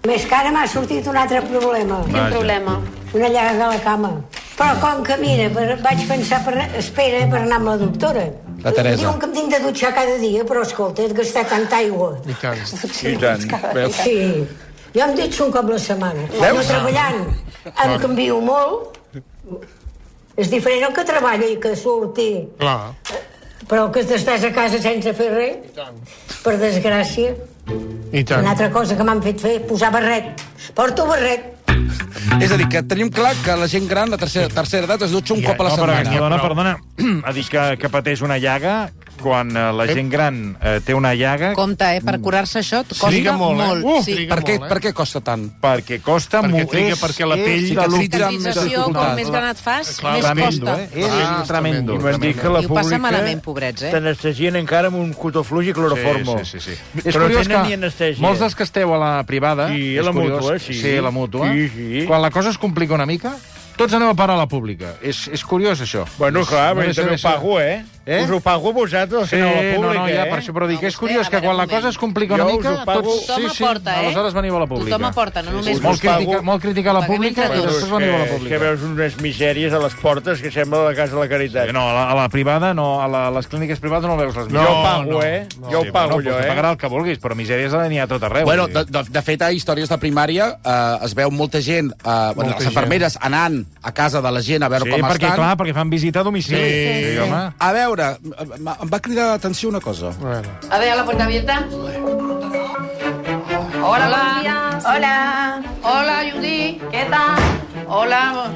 Speaker 24: Més que ara m'ha sortit un altre problema.
Speaker 23: Quin Vaja. problema?
Speaker 24: Una llaga a la cama. Però com que, mira, per- vaig pensar, per, espera, eh, per anar amb la doctora.
Speaker 2: La Teresa.
Speaker 24: Diuen que em tinc de dutxar cada dia, però escolta, he de gastar tanta aigua.
Speaker 3: I tant.
Speaker 23: I tant. Veus?
Speaker 24: Sí. Jo em dutxo un cop la setmana.
Speaker 23: Veus?
Speaker 24: Jo treballant em
Speaker 23: Clar.
Speaker 24: canvio molt. És diferent el que treballa i que surti.
Speaker 3: Clar.
Speaker 24: Però que estàs a casa sense fer res, per desgràcia.
Speaker 3: I tant.
Speaker 24: Una altra cosa que m'han fet fer, posar barret. Porto barret.
Speaker 2: És a dir, que tenim clar que la gent gran, la tercera, tercera edat, es dutxa un cop a la
Speaker 1: no, però
Speaker 2: setmana.
Speaker 1: (clears throat) aquesta dona, perdona, ha dit que, que pateix una llaga quan eh, la gent gran eh, té una llaga...
Speaker 4: Compte, eh? Per curar-se això et costa molt.
Speaker 1: Uh,
Speaker 4: sí.
Speaker 1: per, què,
Speaker 2: per què costa tant?
Speaker 1: Perquè costa
Speaker 4: Perquè
Speaker 1: molt.
Speaker 4: triga,
Speaker 1: és-
Speaker 4: perquè la pell
Speaker 1: és
Speaker 4: cicatritza
Speaker 1: de
Speaker 4: amb més
Speaker 1: l'última
Speaker 4: dificultat. Com més gran et fas, més
Speaker 3: tremendo,
Speaker 4: costa.
Speaker 3: Eh? És ah, tremendo.
Speaker 1: I van dir que
Speaker 3: la
Speaker 4: I ho passa malament, pobrets, eh?
Speaker 3: T'anestesien encara amb un cotofluix i cloroformo.
Speaker 1: Sí, sí, sí, sí.
Speaker 3: És Però tenen ni anestèsia.
Speaker 1: molts dels que esteu a la privada...
Speaker 3: Sí,
Speaker 1: és
Speaker 3: a la
Speaker 1: curiós,
Speaker 3: mútua, eh, sí.
Speaker 1: Sí, a la mútua.
Speaker 3: Sí, sí.
Speaker 1: Quan la cosa es complica una mica, tots aneu a parar a la pública. És, és curiós, això.
Speaker 3: Bueno,
Speaker 1: És-
Speaker 3: clar,
Speaker 1: no
Speaker 3: però jo
Speaker 1: deixa
Speaker 3: també ho
Speaker 1: de ser-
Speaker 3: pago, eh?
Speaker 1: Eh?
Speaker 3: Us ho pago a vosaltres,
Speaker 1: Sí,
Speaker 3: sí, no a la
Speaker 1: no,
Speaker 3: pública,
Speaker 1: no, ja,
Speaker 3: eh?
Speaker 1: per això, però dic que és curiós que quan la cosa es complica una
Speaker 3: Jo us
Speaker 1: mica,
Speaker 3: ho pago-
Speaker 1: tots...
Speaker 4: Tothom aporta, eh?
Speaker 1: Aleshores veniu a la pública.
Speaker 4: Tothom aporta, no només
Speaker 1: Molt,
Speaker 4: vosaltres.
Speaker 1: critica, molt criticar la pública, però després veniu a la
Speaker 3: que, que
Speaker 1: pública.
Speaker 3: veus unes misèries a les portes que sembla la Casa de la Caritat.
Speaker 1: No, a la, a la privada, no, a, la, a les clíniques privades no veus les misèries.
Speaker 3: Jo pago, eh? Jo ho pago, jo, eh?
Speaker 1: Pagarà el que vulguis, però misèries n'hi ha a tot arreu.
Speaker 2: Bueno,
Speaker 1: vull dir.
Speaker 2: de, de, de fet, a històries de primària eh, es veu molta gent, eh, bueno, les
Speaker 1: gent.
Speaker 2: infermeres anant a casa de la gent a veure
Speaker 1: sí,
Speaker 2: com
Speaker 1: perquè,
Speaker 2: estan.
Speaker 1: clar, perquè fan visita a domicili. home.
Speaker 2: A veure, m- em va cridar l'atenció una cosa.
Speaker 7: A ver, a la puerta abierta. Hola, buenos días. Hola. Hola, Judy. ¿Qué tal? Hola.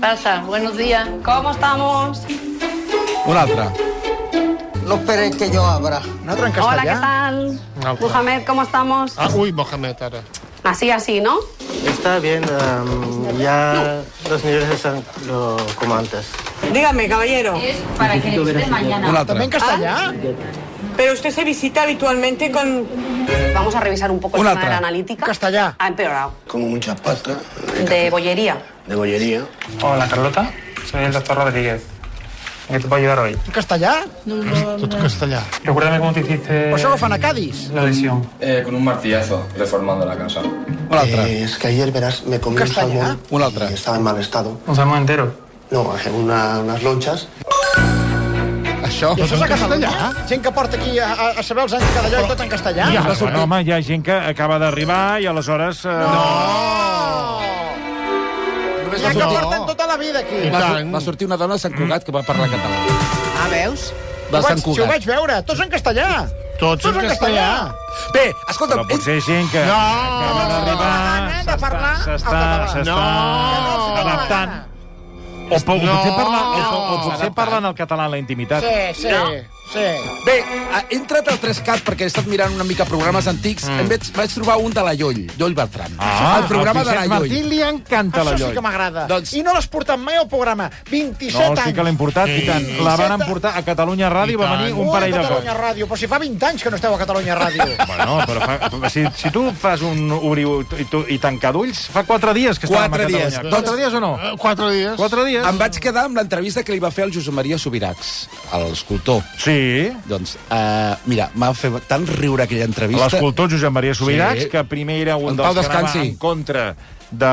Speaker 7: Pasa, buenos días. ¿Cómo estamos?
Speaker 2: Una altra.
Speaker 23: No esperes que yo abra.
Speaker 3: No en
Speaker 23: Hola, ¿qué
Speaker 3: castellà?
Speaker 23: tal?
Speaker 3: No, claro.
Speaker 23: Mohamed, ¿cómo estamos?
Speaker 3: Ah, ui, Mohamed, ara.
Speaker 23: Así, así, ¿no?
Speaker 17: Está bien, em, ya los niveles están lo- como antes.
Speaker 23: Dígame, caballero. Es
Speaker 17: para que Necesito ver visite así. mañana. Una otra. ¿También
Speaker 23: castellá? Pero usted se visita habitualmente con... Vamos a revisar un poco el
Speaker 17: Una
Speaker 23: tema de
Speaker 17: otra.
Speaker 23: la analítica. Castellá. Ha empeorado.
Speaker 17: Como muchas pastas.
Speaker 23: De bollería.
Speaker 17: De bollería. Hola, Carlota. Soy el doctor Rodríguez. ¿En qué te puedo ayudar hoy?
Speaker 3: En castellà? No, no, no. castellà.
Speaker 17: Recuérdame cómo te hiciste...
Speaker 3: Però això ho fan a Cádiz.
Speaker 17: La lesión.
Speaker 16: Eh, con un martillazo, reformando la casa.
Speaker 17: Eh, es que ayer, verás, me comí un
Speaker 16: Castaña.
Speaker 17: salmón. Y estaba en mal estado.
Speaker 16: ¿Un salmón entero?
Speaker 17: No, una- unas lonchas.
Speaker 2: Això?
Speaker 3: I això és a Catalunya? Gent que porta aquí a, a, a saber els anys cada lloc tot en castellà?
Speaker 1: Ja, Ah, bueno, home, hi ha gent que acaba d'arribar i aleshores... Eh,
Speaker 3: Només ja que porten tota la vida aquí.
Speaker 2: Va, sur- va sortir una dona de Sant Cugat que va parlar català.
Speaker 3: Ah, veus?
Speaker 2: De Sant
Speaker 3: Si ho
Speaker 2: Cugat.
Speaker 3: vaig veure, tots en castellà.
Speaker 2: Tots en castellà. Bé, escolta'm...
Speaker 1: Però potser gent que
Speaker 3: No!
Speaker 1: acaba d'arribar...
Speaker 3: De parlar...
Speaker 1: S'està s'està
Speaker 3: Ah,
Speaker 1: adaptant. O, po- o, potser parla, o, po- o potser parlen el català en la intimitat.
Speaker 3: sí, sí.
Speaker 2: Bé, eh, he entrat al 3CAT perquè he estat mirant una mica programes antics. Mm. Em vaig, vaig trobar un de la Lloll, Lloll Bertran.
Speaker 1: Ah,
Speaker 2: el programa
Speaker 1: al
Speaker 2: de la
Speaker 1: Vicenç
Speaker 2: Lloll.
Speaker 1: Martí li encanta Tota la
Speaker 3: Això
Speaker 1: Lloll.
Speaker 3: sí que m'agrada. Doncs... I no l'has portat mai al programa. 27
Speaker 1: No,
Speaker 3: anys.
Speaker 1: sí que l'hem portat, i tant. La van portar a Catalunya Ràdio, va venir un parell de cops.
Speaker 3: Catalunya Ràdio, però si fa 20 anys que no esteu a Catalunya Ràdio.
Speaker 1: Bueno, però fa, si, si tu fas un obrir i, tu- i tancar d'ulls, fa quatre dies que estàvem a Catalunya. Quatre dies o no?
Speaker 2: Quatre dies.
Speaker 1: Quatre dies.
Speaker 2: Em vaig quedar amb l'entrevista que li va fer el Josep Maria Subirats, l'escultor.
Speaker 1: Sí.
Speaker 2: Doncs, eh, mira, m'ha fet tant riure aquella entrevista.
Speaker 1: L'escultor Josep Maria Subirats, sí. que primer era un
Speaker 2: En
Speaker 1: dels
Speaker 2: pau
Speaker 1: que anava
Speaker 2: descansi.
Speaker 1: en contra de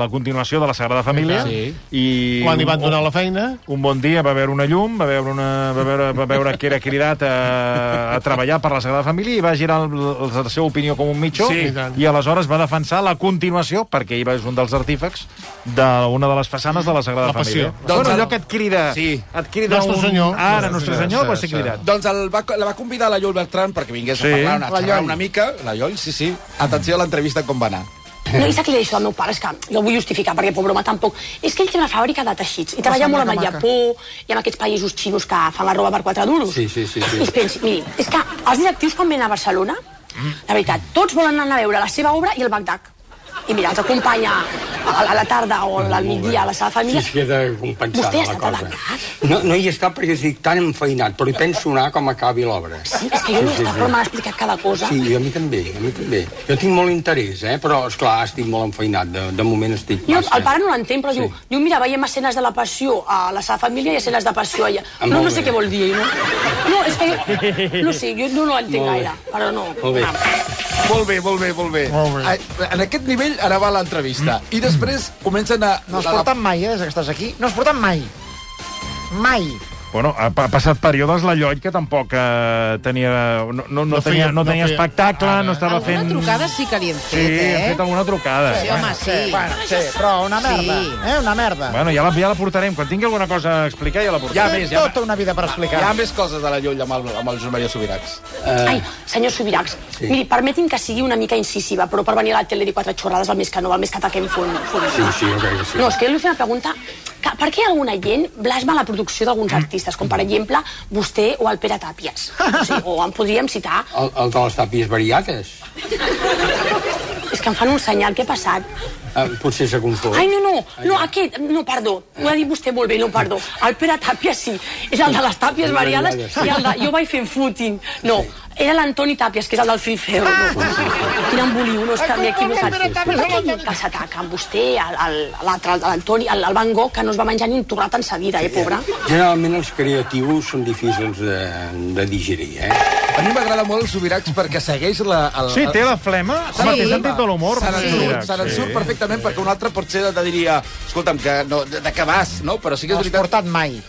Speaker 1: la continuació de la Sagrada Família.
Speaker 25: Sí.
Speaker 1: I
Speaker 25: Quan li van donar
Speaker 1: la feina? Un bon dia va veure una llum, va veure, una, va veure, va veure que era cridat a, a treballar per la Sagrada Família i va girar el, el, la seva opinió com un mitjó
Speaker 25: Sí, i
Speaker 1: i,
Speaker 25: tant.
Speaker 1: i aleshores va defensar la continuació, perquè ell va és un dels artífecs d'una de les façanes de la Sagrada
Speaker 25: La passió.
Speaker 1: Família. Doncs, bueno, allò que et crida...
Speaker 2: Sí.
Speaker 1: Et crida
Speaker 2: Nostre
Speaker 1: un...
Speaker 2: Senyor.
Speaker 1: Ara, Nostre Senyor, va ser cridat.
Speaker 2: Doncs el va, la va convidar la Lloll Bertran perquè vingués
Speaker 1: Sí.
Speaker 2: a parlar, una,
Speaker 1: La
Speaker 2: a xerrar
Speaker 1: Lloll.
Speaker 2: una mica. La Lloll, sí, sí. Atenció a l'entrevista com va anar.
Speaker 26: No, i saps què li deixo al meu pare? És que jo ho vull justificar, perquè pobre home tampoc... És que ell té una fàbrica de teixits i treballa sembla molt amb el que maca. Japó i amb aquests països xinos que fan la roba per quatre duros. Sí, sí, sí, sí. I es pensi, miri, és que els directius quan venen a Barcelona, la veritat, tots volen anar a veure la seva obra i el Bagdad. I mira, els acompanya a la- a la tarda o al migdia a la seva família.
Speaker 27: Sí, sí, he de compensar
Speaker 26: Vostè ha
Speaker 27: la
Speaker 26: estat
Speaker 27: cosa. No, no hi està perquè estic tan enfeinat, però hi penso anar com acabi l'obra.
Speaker 26: Sí, és que jo no sé com m'han explicat cada cosa.
Speaker 27: Sí, i a mi també, a mi també. Jo tinc molt interès, eh? però, esclar, estic molt enfeinat. De, de moment estic
Speaker 26: Jo,
Speaker 27: massa...
Speaker 26: el pare no l'entén, però
Speaker 27: Sí.
Speaker 26: sí. diu, diu, mira, veiem escenes de la passió a la seva família i escenes de passió allà.
Speaker 27: Ah,
Speaker 26: No,
Speaker 27: molt
Speaker 26: no sé
Speaker 27: bé.
Speaker 26: què vol dir, no? No, és que jo, no sé, jo no l'entenc
Speaker 27: Molt bé.
Speaker 26: gaire, però no.
Speaker 27: Molt bé.
Speaker 2: Molt bé, molt bé, molt bé. Molt bé. En aquest nivell ara va l'entrevista. Mm. I després comencen a...
Speaker 3: No has
Speaker 2: la- la-
Speaker 3: portat mai, eh, des que estàs aquí. No has portat mai. Mai.
Speaker 1: Bueno, ha, pa- ha passat períodes la Lloll que tampoc eh, tenia, no, no, no, no tenia,
Speaker 25: feia-
Speaker 1: no
Speaker 25: no
Speaker 1: tenia
Speaker 25: feia.
Speaker 1: espectacle, no estava
Speaker 4: Alguna
Speaker 1: fent...
Speaker 4: trucada sí que li hem
Speaker 1: Sí,
Speaker 4: fet,
Speaker 1: he
Speaker 4: eh?
Speaker 1: fet alguna trucada.
Speaker 4: Sí, home, sí.
Speaker 3: Bueno, sí, però una merda.
Speaker 4: Sí.
Speaker 3: Eh, una merda.
Speaker 1: Bueno, ja la, ja la portarem. Quan tingui alguna cosa a explicar, ja la portarem.
Speaker 3: Té tota una vida per explicar.
Speaker 2: Hi ha més coses de la Lloll amb el, amb el Josep Maria Subirats.
Speaker 17: Eh,
Speaker 26: Ai, senyor Subirachs,
Speaker 2: Sí.
Speaker 26: sí. miri, permetin que sigui una mica incisiva, però per venir a la tele de quatre xorrades el més que no, el més que ataquem fum. fum.
Speaker 27: Sí, sí, jo crec que sí.
Speaker 26: No, és que jo li vull fer una pregunta que per què alguna gent blasma la producció d'alguns
Speaker 27: Mm.
Speaker 26: artistes, com per exemple vostè o el Pere
Speaker 27: (laughs)
Speaker 26: Tàpies? O, sigui, o en podríem citar...
Speaker 27: El, el de les tàpies variates.
Speaker 26: És que em fan un senyal, què ha passat?
Speaker 27: Eh, potser se confon.
Speaker 26: Ai, no, no, no, aquest, no, perdó, ho ha dit vostè molt bé, no, perdó. El Pere Tàpies sí, és el de les tàpies variades i el de... Jo vaig fent footing. No, era l'Antoni Tàpies, que és el del Filfeo. No? Quin emboliu, no, és que m'he equivocat. Per què diu que s'ataca amb vostè, el- el- l'altre, el de l'Antoni, el, el Van Gogh, que no es va menjar ni un torrat en sa vida, eh, pobre?
Speaker 27: Generalment els creatius són difícils de, de digerir, eh?
Speaker 2: A mi m'agrada molt el Subirachs perquè segueix la... El,
Speaker 1: Sí, té la flema. Home, té sentit de l'humor.
Speaker 2: Se n'en
Speaker 1: Sí.
Speaker 2: surt, se n'en
Speaker 1: Sí.
Speaker 2: surt perfectament, perquè un altre potser et diria... Escolta'm, que no, de, de què vas, no? Però sí que
Speaker 28: No has
Speaker 2: és veritat...
Speaker 28: portat mai.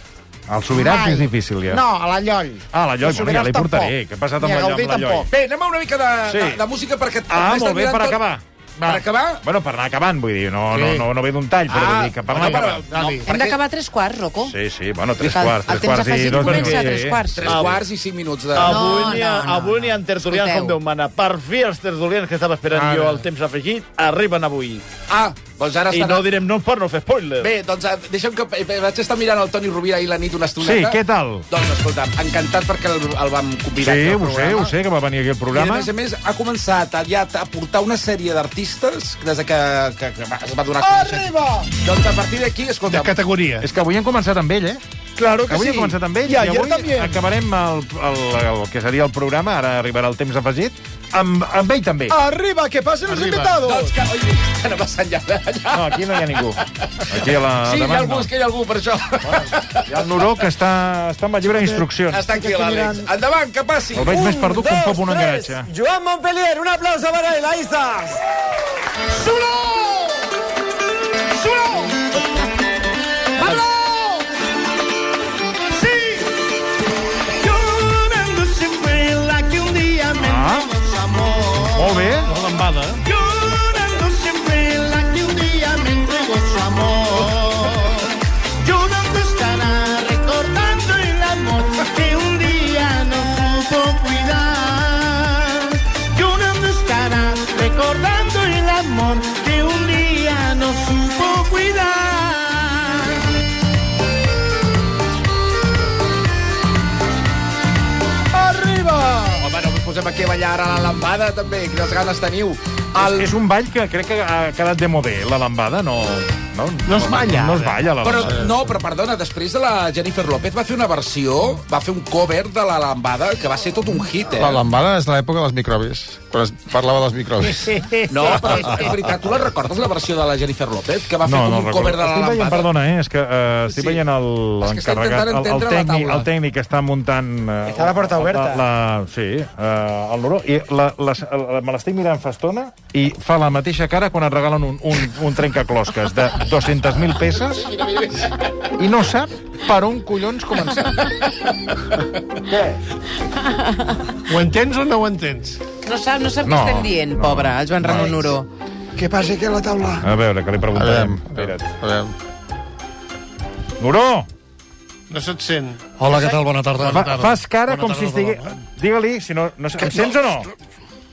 Speaker 1: El Subirats
Speaker 28: Mai.
Speaker 1: és difícil, ja.
Speaker 28: No, a la Lloll.
Speaker 1: Ah, la Lloll,
Speaker 28: Els
Speaker 1: bueno, ja
Speaker 28: Subirats
Speaker 1: li portaré.
Speaker 28: tampoc.
Speaker 1: Què ha passat
Speaker 28: Ni
Speaker 1: amb
Speaker 28: a
Speaker 1: la Lloll?
Speaker 28: Gaudí
Speaker 1: Amb la Lloll.
Speaker 28: tampoc.
Speaker 2: Bé, anem a una mica de,
Speaker 1: Sí.
Speaker 2: de, de música perquè...
Speaker 1: Ah,
Speaker 2: Ernest
Speaker 1: molt bé,
Speaker 2: Almirall
Speaker 1: per
Speaker 2: tot-
Speaker 1: acabar.
Speaker 2: Per acabar?
Speaker 1: Bueno, per anar acabant, vull dir, no,
Speaker 2: Sí.
Speaker 1: no, no, no ve d'un tall, però
Speaker 2: Ah,
Speaker 1: vull dir que per anar
Speaker 2: bueno, però-
Speaker 1: acabant.
Speaker 2: no,
Speaker 4: Hem d'acabar a tres quarts, Rocco.
Speaker 1: Sí, sí, bueno, tres
Speaker 4: El- el
Speaker 1: quarts, tres
Speaker 4: temps
Speaker 1: quarts i
Speaker 4: afegit
Speaker 1: dos
Speaker 4: comença a
Speaker 1: minuts.
Speaker 4: tres quarts.
Speaker 2: Tres
Speaker 1: Ah,
Speaker 2: quarts i cinc minuts de...
Speaker 29: Avui n'hi ha,
Speaker 4: no, no,
Speaker 29: avui n'hi ha tertulians
Speaker 4: Escolteu.
Speaker 29: com Déu mana. Per fi els tertulians que estava esperant
Speaker 1: Ah,
Speaker 2: Ara.
Speaker 29: jo al temps afegit arriben avui.
Speaker 2: Ah, doncs ara
Speaker 29: I
Speaker 2: estarà...
Speaker 29: no direm no per no fer spoiler.
Speaker 2: Bé, doncs eh, deixa'm que... eh, Vaig estar mirant el Toni Rovira ahir la nit una estoneta.
Speaker 1: Sí, què tal?
Speaker 2: Doncs, escolta'm, encantat perquè el, el vam convidar
Speaker 1: Sí,
Speaker 2: aquí al
Speaker 1: ho sé,
Speaker 2: programa.
Speaker 1: ho sé, que va venir aquí el
Speaker 2: I, a
Speaker 1: programa.
Speaker 2: més a més, ha començat a, ja a portar una sèrie d'artistes des de que, que, que va- es va donar... a conèixer.
Speaker 28: Arriba!
Speaker 2: Doncs a partir d'aquí, escolta... De
Speaker 1: categoria. És que avui hem començat amb ell, eh?
Speaker 28: Claro que
Speaker 1: avui
Speaker 28: sí.
Speaker 1: hem començat amb ell
Speaker 28: I ayer
Speaker 1: avui
Speaker 28: también.
Speaker 1: acabarem el, el, el, el, que seria el programa, ara arribarà el temps afegit, amb, amb ell també.
Speaker 7: Ah.
Speaker 28: Arriba, que passen els
Speaker 1: Arriba.
Speaker 28: invitados.
Speaker 2: Doncs que, oi, que no passa enllà.
Speaker 1: No, aquí no hi ha ningú. Aquí a la
Speaker 2: Sí, hi ha
Speaker 1: davant
Speaker 2: algú,
Speaker 1: no.
Speaker 2: és que hi ha algú, per això.
Speaker 1: Hi ha el Noró, que està, està amb el llibre d'instruccions.
Speaker 2: Està aquí l'Àlex. Endavant, que passi.
Speaker 1: El veig més perdut que un pop un engaratge.
Speaker 30: Joan Montpellier, un aplauso para él, ahí estás.
Speaker 7: ¡Sulo! ¡Sulo! ¡Pablo! Sí. Llorando siempre la que un día me
Speaker 1: Ah.
Speaker 7: amor.
Speaker 1: Molt bé.
Speaker 29: La lambada.
Speaker 7: Llorando siempre la que un día me entregó su amor. Llorando estará recordando el amor que un día no supo cuidar. Llorando estará recordando el amor que un día no supo cuidar.
Speaker 28: Arriba!
Speaker 2: Home, no us posem aquí a ballar ara la lambada, també. Quines ganes teniu.
Speaker 1: El... És un ball que crec que ha quedat de modé, la lambada, no... No, no es balla. No es balla, la
Speaker 2: Però,
Speaker 1: lambada.
Speaker 2: no, però perdona, després de la Jennifer López va fer una versió, va fer un cover de la lambada, que va ser tot un hit, eh?
Speaker 31: La lambada és l'època dels microbis, quan es parlava dels microbis.
Speaker 2: No, però és, és veritat, tu la recordes, la versió de la Jennifer López, que va fer
Speaker 1: no,
Speaker 2: com
Speaker 1: no,
Speaker 2: un
Speaker 1: recordo.
Speaker 2: cover de la
Speaker 1: estic veient,
Speaker 2: lambada?
Speaker 1: perdona, eh, és que uh, estic
Speaker 2: Sí.
Speaker 1: veient el
Speaker 2: És que estic
Speaker 1: encarregat,
Speaker 2: intentant
Speaker 1: el, el,
Speaker 2: entendre la
Speaker 1: tècnic,
Speaker 2: taula.
Speaker 1: el tècnic que està muntant... Uh,
Speaker 28: Està la porta oberta.
Speaker 1: La, la, sí, uh, el Noró. I la, la, la, me l'estic mirant fa estona i fa la mateixa cara quan et regalen un, un, un trencaclosques de 200.000 peces i no sap per on collons començar.
Speaker 32: Què? Ho entens o no ho entens?
Speaker 4: No sap, no sap què
Speaker 1: No,
Speaker 4: estem dient,
Speaker 1: no.
Speaker 4: pobre, el Joan Ramon
Speaker 1: No.
Speaker 4: Noró.
Speaker 28: Què passa aquí a la taula?
Speaker 1: A veure, que li preguntarem. A veure, a veure. Noró!
Speaker 32: No se't sent.
Speaker 3: Hola, què tal? Bona tarda.
Speaker 1: Fa, fas cara
Speaker 3: Bona
Speaker 1: com
Speaker 3: tarda,
Speaker 1: si estigui... Digue-li, si no... no sé, em sents o no?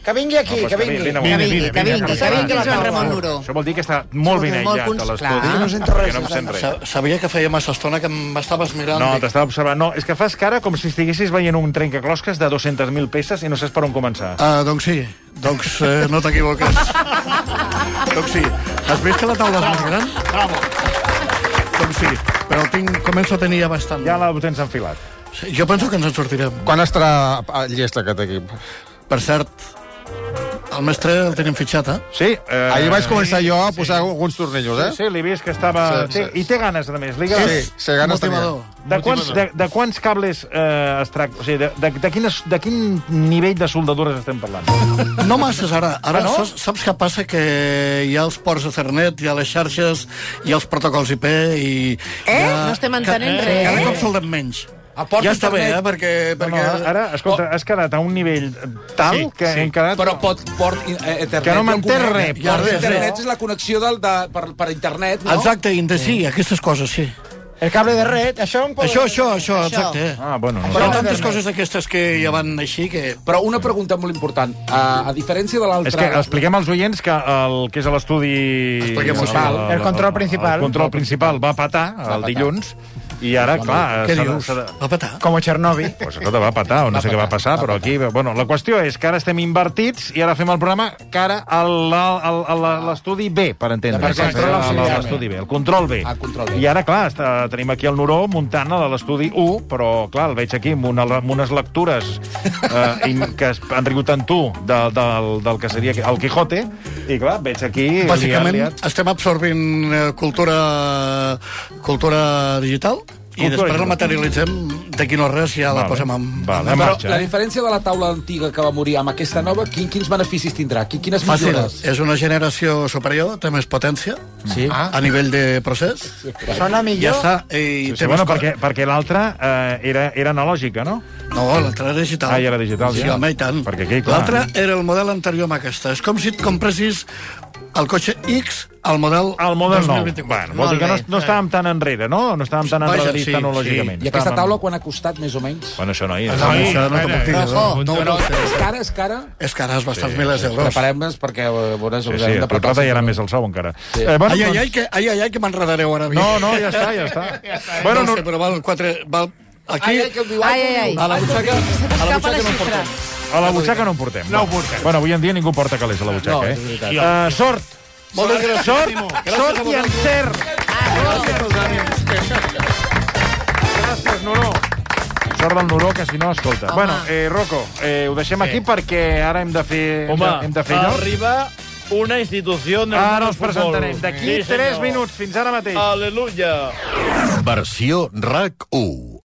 Speaker 28: Que vingui aquí,
Speaker 1: Home,
Speaker 28: que
Speaker 1: pues vine,
Speaker 28: vingui.
Speaker 1: vine, vine, vine, vine, vine, vine,
Speaker 4: Joan
Speaker 1: vine.
Speaker 4: Ramon Noró.
Speaker 1: Això vol dir que està molt ben aïllat a l'estudi.
Speaker 3: Jo no sento
Speaker 1: perquè
Speaker 3: res.
Speaker 1: no em sent res.
Speaker 3: Sa- Sabia que feia massa estona que m'estaves mirant.
Speaker 1: No,
Speaker 3: Dic,
Speaker 1: t'estava observant. No, és que fas cara com si estiguessis veient un trencaclosques de 200.000 peces i no saps per on començar.
Speaker 3: Ah, doncs sí. Doncs eh, no
Speaker 1: (laughs)
Speaker 3: t'equivoques. doncs sí. Has vist que la taula és més gran? Bravo. Doncs sí, però tinc, començo a tenir ja bastant.
Speaker 1: Ja la tens enfilat.
Speaker 3: Sí, jo penso que ens en sortirem.
Speaker 31: Quan estarà ah, llest aquest equip?
Speaker 3: Per cert, el mestre el tenim fitxat, eh?
Speaker 1: Sí. Eh,
Speaker 31: Ahir vaig començar jo a posar alguns tornillos, eh?
Speaker 1: Sí, sí, l'he vist que estava...
Speaker 31: Sí,
Speaker 1: Sí,
Speaker 31: sí.
Speaker 1: I té ganes, a més. Li
Speaker 31: Sí,
Speaker 1: ganes.
Speaker 31: sí, ganes tenia. Motivador.
Speaker 1: De quants, de,
Speaker 31: Motivador.
Speaker 1: de quants cables eh, es tracta? O sigui, de, de, de, quines, de quin nivell de soldadures estem parlant?
Speaker 3: No masses, ara. Ara
Speaker 1: Ah, no?
Speaker 3: saps, saps què passa? Que hi ha els ports Ethernet, hi ha les xarxes, hi ha els protocols IP i...
Speaker 4: Eh?
Speaker 3: hi ha-
Speaker 4: No estem entenent
Speaker 3: Ca-
Speaker 4: res. eh?
Speaker 3: Cada cop soldem menys.
Speaker 2: A
Speaker 3: ja està bé, eh? Perquè...
Speaker 1: No,
Speaker 3: perquè...
Speaker 1: no, ara, escolta, has quedat a un nivell tal
Speaker 3: Sí,
Speaker 1: que
Speaker 3: sí.
Speaker 1: hem quedat...
Speaker 2: Però pot, port eh, Ethernet...
Speaker 1: Que no m'entén res,
Speaker 2: Port
Speaker 3: res,
Speaker 2: Ethernet
Speaker 3: no.
Speaker 2: és la connexió del, de, per, per internet, no?
Speaker 3: Exacte, in the sea, aquestes coses, sí.
Speaker 33: El cable de red, això... Un
Speaker 3: Això, això, això, exacte.
Speaker 31: eh.
Speaker 1: Ah, bueno.
Speaker 3: Hi ha tantes coses aquestes que ja van així que...
Speaker 2: Però una pregunta molt important. A, a diferència de l'altra...
Speaker 1: És que expliquem als oients que el que és l'estudi...
Speaker 33: Expliquem-ho, sí. El control principal.
Speaker 1: El control principal va patar el dilluns i ara, clar...
Speaker 33: Què
Speaker 1: s'ha de-
Speaker 33: dius?
Speaker 1: s'ha de-
Speaker 3: Va patar.
Speaker 33: Com a Txernòbil.
Speaker 1: Pues escolta, va patar, o no sé què va passar, però aquí... Bueno, la qüestió és que ara estem invertits i ara fem el programa cara a la- al- a la- a l'estudi B, per entendre's.
Speaker 2: Perquè el control
Speaker 1: A la-
Speaker 2: auxiliar.
Speaker 1: a L'estudi B, el control B. I ara, clar, està, tenim aquí el Noró muntant a l'estudi 1, però, clar, el veig aquí amb, una, amb unes lectures eh, in- que es- han rigut en tu de, del, del que seria el Quijote, i, clar, veig aquí... liat,
Speaker 3: Bàsicament,
Speaker 1: liat.
Speaker 3: estem absorbint eh, cultura, cultura digital i
Speaker 1: Cultura
Speaker 3: després la
Speaker 1: digital.
Speaker 3: materialitzem d'aquí no res, ja la
Speaker 1: Vale.
Speaker 3: posem en... en
Speaker 1: Vale, en
Speaker 2: Però
Speaker 3: marxa.
Speaker 2: la diferència de la taula antiga que va morir amb aquesta nova, quin, quins beneficis tindrà? Quin, quines
Speaker 3: Fàcil.
Speaker 2: millores?
Speaker 3: És una generació superior, té més potència sí.
Speaker 2: Ah.
Speaker 3: a nivell de procés.
Speaker 33: Sona millor.
Speaker 3: Ja està.
Speaker 1: Sí,
Speaker 3: I
Speaker 1: sí, bueno, perquè, perquè l'altra eh, era, era analògica, no?
Speaker 3: No, l'altra era digital.
Speaker 1: Ah, ja era digital,
Speaker 3: Sí,
Speaker 1: ja.
Speaker 3: home, i tant.
Speaker 1: Perquè aquí, clar...
Speaker 3: L'altre era el model anterior amb aquesta. És com si et compressis el cotxe X al model,
Speaker 1: El model nou.
Speaker 3: 2024.
Speaker 1: Bueno, vol dir que no, no estàvem tan enrere, no? No estàvem tan
Speaker 3: Vaja,
Speaker 1: enrere
Speaker 3: sí,
Speaker 1: tecnològicament.
Speaker 2: I aquesta
Speaker 1: Estàvem-
Speaker 2: taula quan ha costat, més o menys?
Speaker 1: Bueno, això no hi és.
Speaker 3: Ah, No, això no t'ho puc dir,
Speaker 2: Però,
Speaker 3: no, no,
Speaker 2: però
Speaker 3: no, no.
Speaker 2: és cara, és cara.
Speaker 3: És que ara és bastants sí, milers d'euros.
Speaker 2: Preparem-nos perquè eh, veuràs...
Speaker 1: Sí, sí, però retallarà més el sou, encara.
Speaker 2: Sí.
Speaker 1: Eh, bueno,
Speaker 3: ai, ai,
Speaker 1: doncs-
Speaker 3: ai, que, ai, ai, ai, que m'enredareu ara. mi. (laughs)
Speaker 1: No, no, ja està, ja està.
Speaker 3: bueno,
Speaker 1: Bueno,
Speaker 3: no,
Speaker 1: no-
Speaker 3: sé, però val quatre... Val, aquí,
Speaker 2: Ai, ai, que ho diu, ai,
Speaker 16: Ai, ai, ai.
Speaker 3: a la butxaca...
Speaker 16: Se t'escapa la xifra.
Speaker 1: A la butxaca no en portem.
Speaker 34: No ho portem.
Speaker 1: Bueno, avui en dia ningú porta calés a la
Speaker 2: No,
Speaker 1: butxaca,
Speaker 2: és
Speaker 1: eh?
Speaker 2: veritat.
Speaker 1: Eh, sort!
Speaker 3: Moltes gràcies,
Speaker 1: Sort,
Speaker 3: Timo. Gràcies a
Speaker 1: sort i
Speaker 3: vosaltres.
Speaker 1: encert!
Speaker 3: Gràcies pels ànims.
Speaker 1: Gràcies, Noró. Sort del Noró, que si no, escolta.
Speaker 16: Home.
Speaker 1: Bueno, eh, Rocco, eh, ho deixem aquí perquè ara hem de fer... hem
Speaker 12: Home,
Speaker 1: de- hem de fer lloc.
Speaker 12: arriba una institució... del
Speaker 1: Ara
Speaker 12: món
Speaker 1: els
Speaker 12: del futbol.
Speaker 1: presentarem. D'aquí
Speaker 12: Sí,
Speaker 1: 3
Speaker 12: senyor.
Speaker 1: minuts. Fins ara mateix.
Speaker 12: Aleluia.
Speaker 35: Versió RAC 1.